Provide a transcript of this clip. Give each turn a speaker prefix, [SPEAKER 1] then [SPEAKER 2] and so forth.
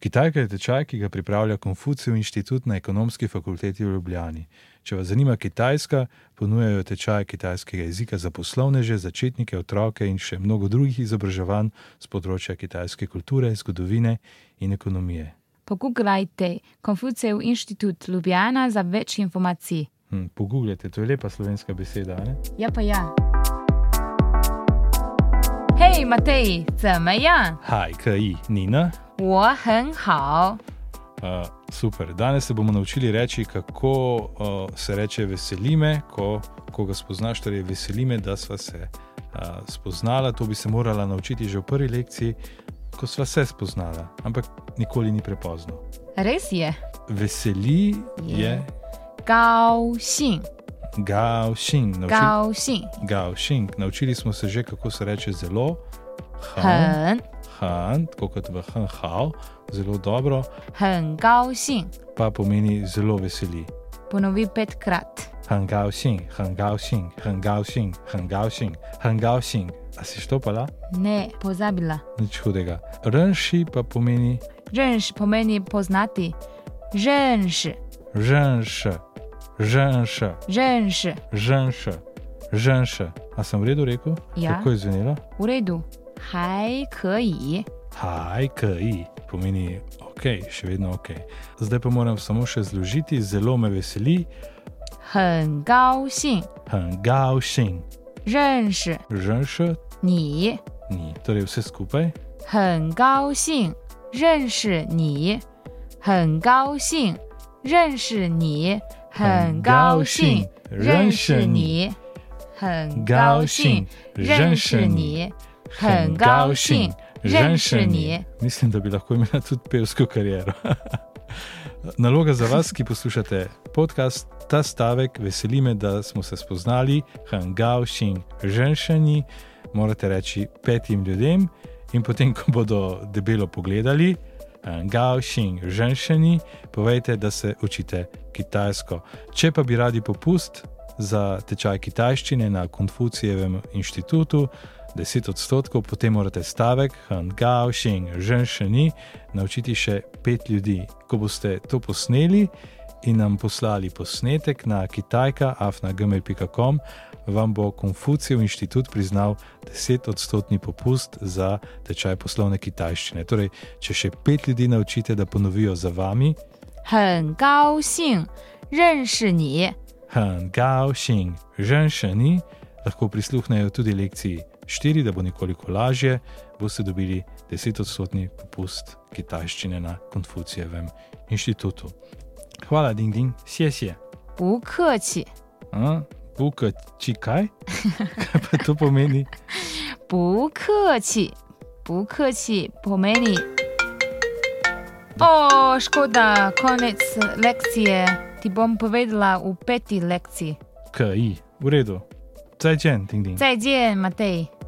[SPEAKER 1] Kitajka je tečaj, ki ga pripravlja Konfucijev inštitut na Ekonomski fakulteti v Ljubljani. Če vas zanima Kitajska, ponujajo tečaje kitajskega jezika za poslovneže, začetnike, otroke in še mnogo drugih izobraževanj z področja kitajske kulture, zgodovine in ekonomije.
[SPEAKER 2] Pogooglajte Konfucijev inštitut Ljubljana za več informacij.
[SPEAKER 1] Hm, Pogooglejte, to je lepa slovenska beseda. a Ne?
[SPEAKER 2] Ja, pa ja. Hej, Matej, 怎么样？
[SPEAKER 1] Hi, KI, Nina.
[SPEAKER 2] 我很好。
[SPEAKER 1] Uh, super. Danes se bomo naučili reči, kako uh, se reče veseli me, ko, ko ga spoznaš, torej veseli me, da sva se uh, spoznala. To bi se morala naučiti že v prvi lekciji, ko sva se spoznala, ampak nikoli ni prepozno.
[SPEAKER 2] Res je,
[SPEAKER 1] Veseli je
[SPEAKER 2] 高兴，
[SPEAKER 1] Gao Xing. Nauči-
[SPEAKER 2] 高兴，
[SPEAKER 1] Gao Xing. Naučili smo se že, kako se reče zelo. Han,
[SPEAKER 2] 很
[SPEAKER 1] han, tako kot v Han Hao, zelo dobro,
[SPEAKER 2] 很高兴。
[SPEAKER 1] pa pomeni zelo veseli.
[SPEAKER 2] Ponovi petkrat.
[SPEAKER 1] 很高兴，很高兴，很高兴，很高兴，很高兴。A si štopala?
[SPEAKER 2] Ne, pozabila.
[SPEAKER 1] Nič hudega. Rnši pa pomeni
[SPEAKER 2] Ženš pomeni poznati. Ženš,
[SPEAKER 1] ženš, ženš,
[SPEAKER 2] ženš,
[SPEAKER 1] ženš, ženš. A sem v redu rekel?
[SPEAKER 2] Ja.
[SPEAKER 1] Kako je zvenelo?
[SPEAKER 2] v redu. Haj, kaj?
[SPEAKER 1] Haj, kaj, pomeni ok, še vedno ok. Zdaj pa moram samo še zložiti, zelo me veseli.
[SPEAKER 2] 很高兴
[SPEAKER 1] Hen gao šing,
[SPEAKER 2] 认识
[SPEAKER 1] ženš,
[SPEAKER 2] 你，
[SPEAKER 1] ni. Torej vse skupaj.
[SPEAKER 2] 很高兴认识你，很高兴认识你，很高兴认识你，很高兴认识你，很高兴认识你。
[SPEAKER 1] Mislim, da bi lahko imela tudi pevsko kariero. Naloga za vas, ki poslušate podcast, ta stavek, veseli me, da smo se spoznali, hangao, šing, ženšani, morate reči petim ljudem in potem, ko bodo debelo pogledali, hangao, šing, ženšani, povejte, da se učite kitajsko. Če pa bi radi popust za tečaj kitajščine na Konfucijevem inštitutu, 10 odstotkov, potem morate stavek Hangao, Sheng, Ženšeni naučiti še 5 ljudi. Ko boste to posneli in nam poslali posnetek na kitajka.afnagmail.com, vam bo Konfucijev inštitut priznal 10 odstotni popust za tečaj poslovne kitajščine. Torej, če še 5 ljudi naučite, da ponovijo za vami,
[SPEAKER 2] 很高兴认识你，
[SPEAKER 1] Hangao, Sheng, Ženšeni, lahko prisluhnejo tudi lekciji 4, da bo nekoliko lažje, boste dobili 10-odstotni popust kitajščine na Konfucijevem inštitutu. Hvala, ding ding, sje sje.
[SPEAKER 2] 不客气，
[SPEAKER 1] Buka čikaj? Kaj pa to pomeni?
[SPEAKER 2] 不客气，不客气，pomeni。O, Oh, škoda, konec lekcije. Ti bom povedala v peti lekciji.
[SPEAKER 1] KI, v redu. Zajčen, ding ding.
[SPEAKER 2] Zajdijem, Matej.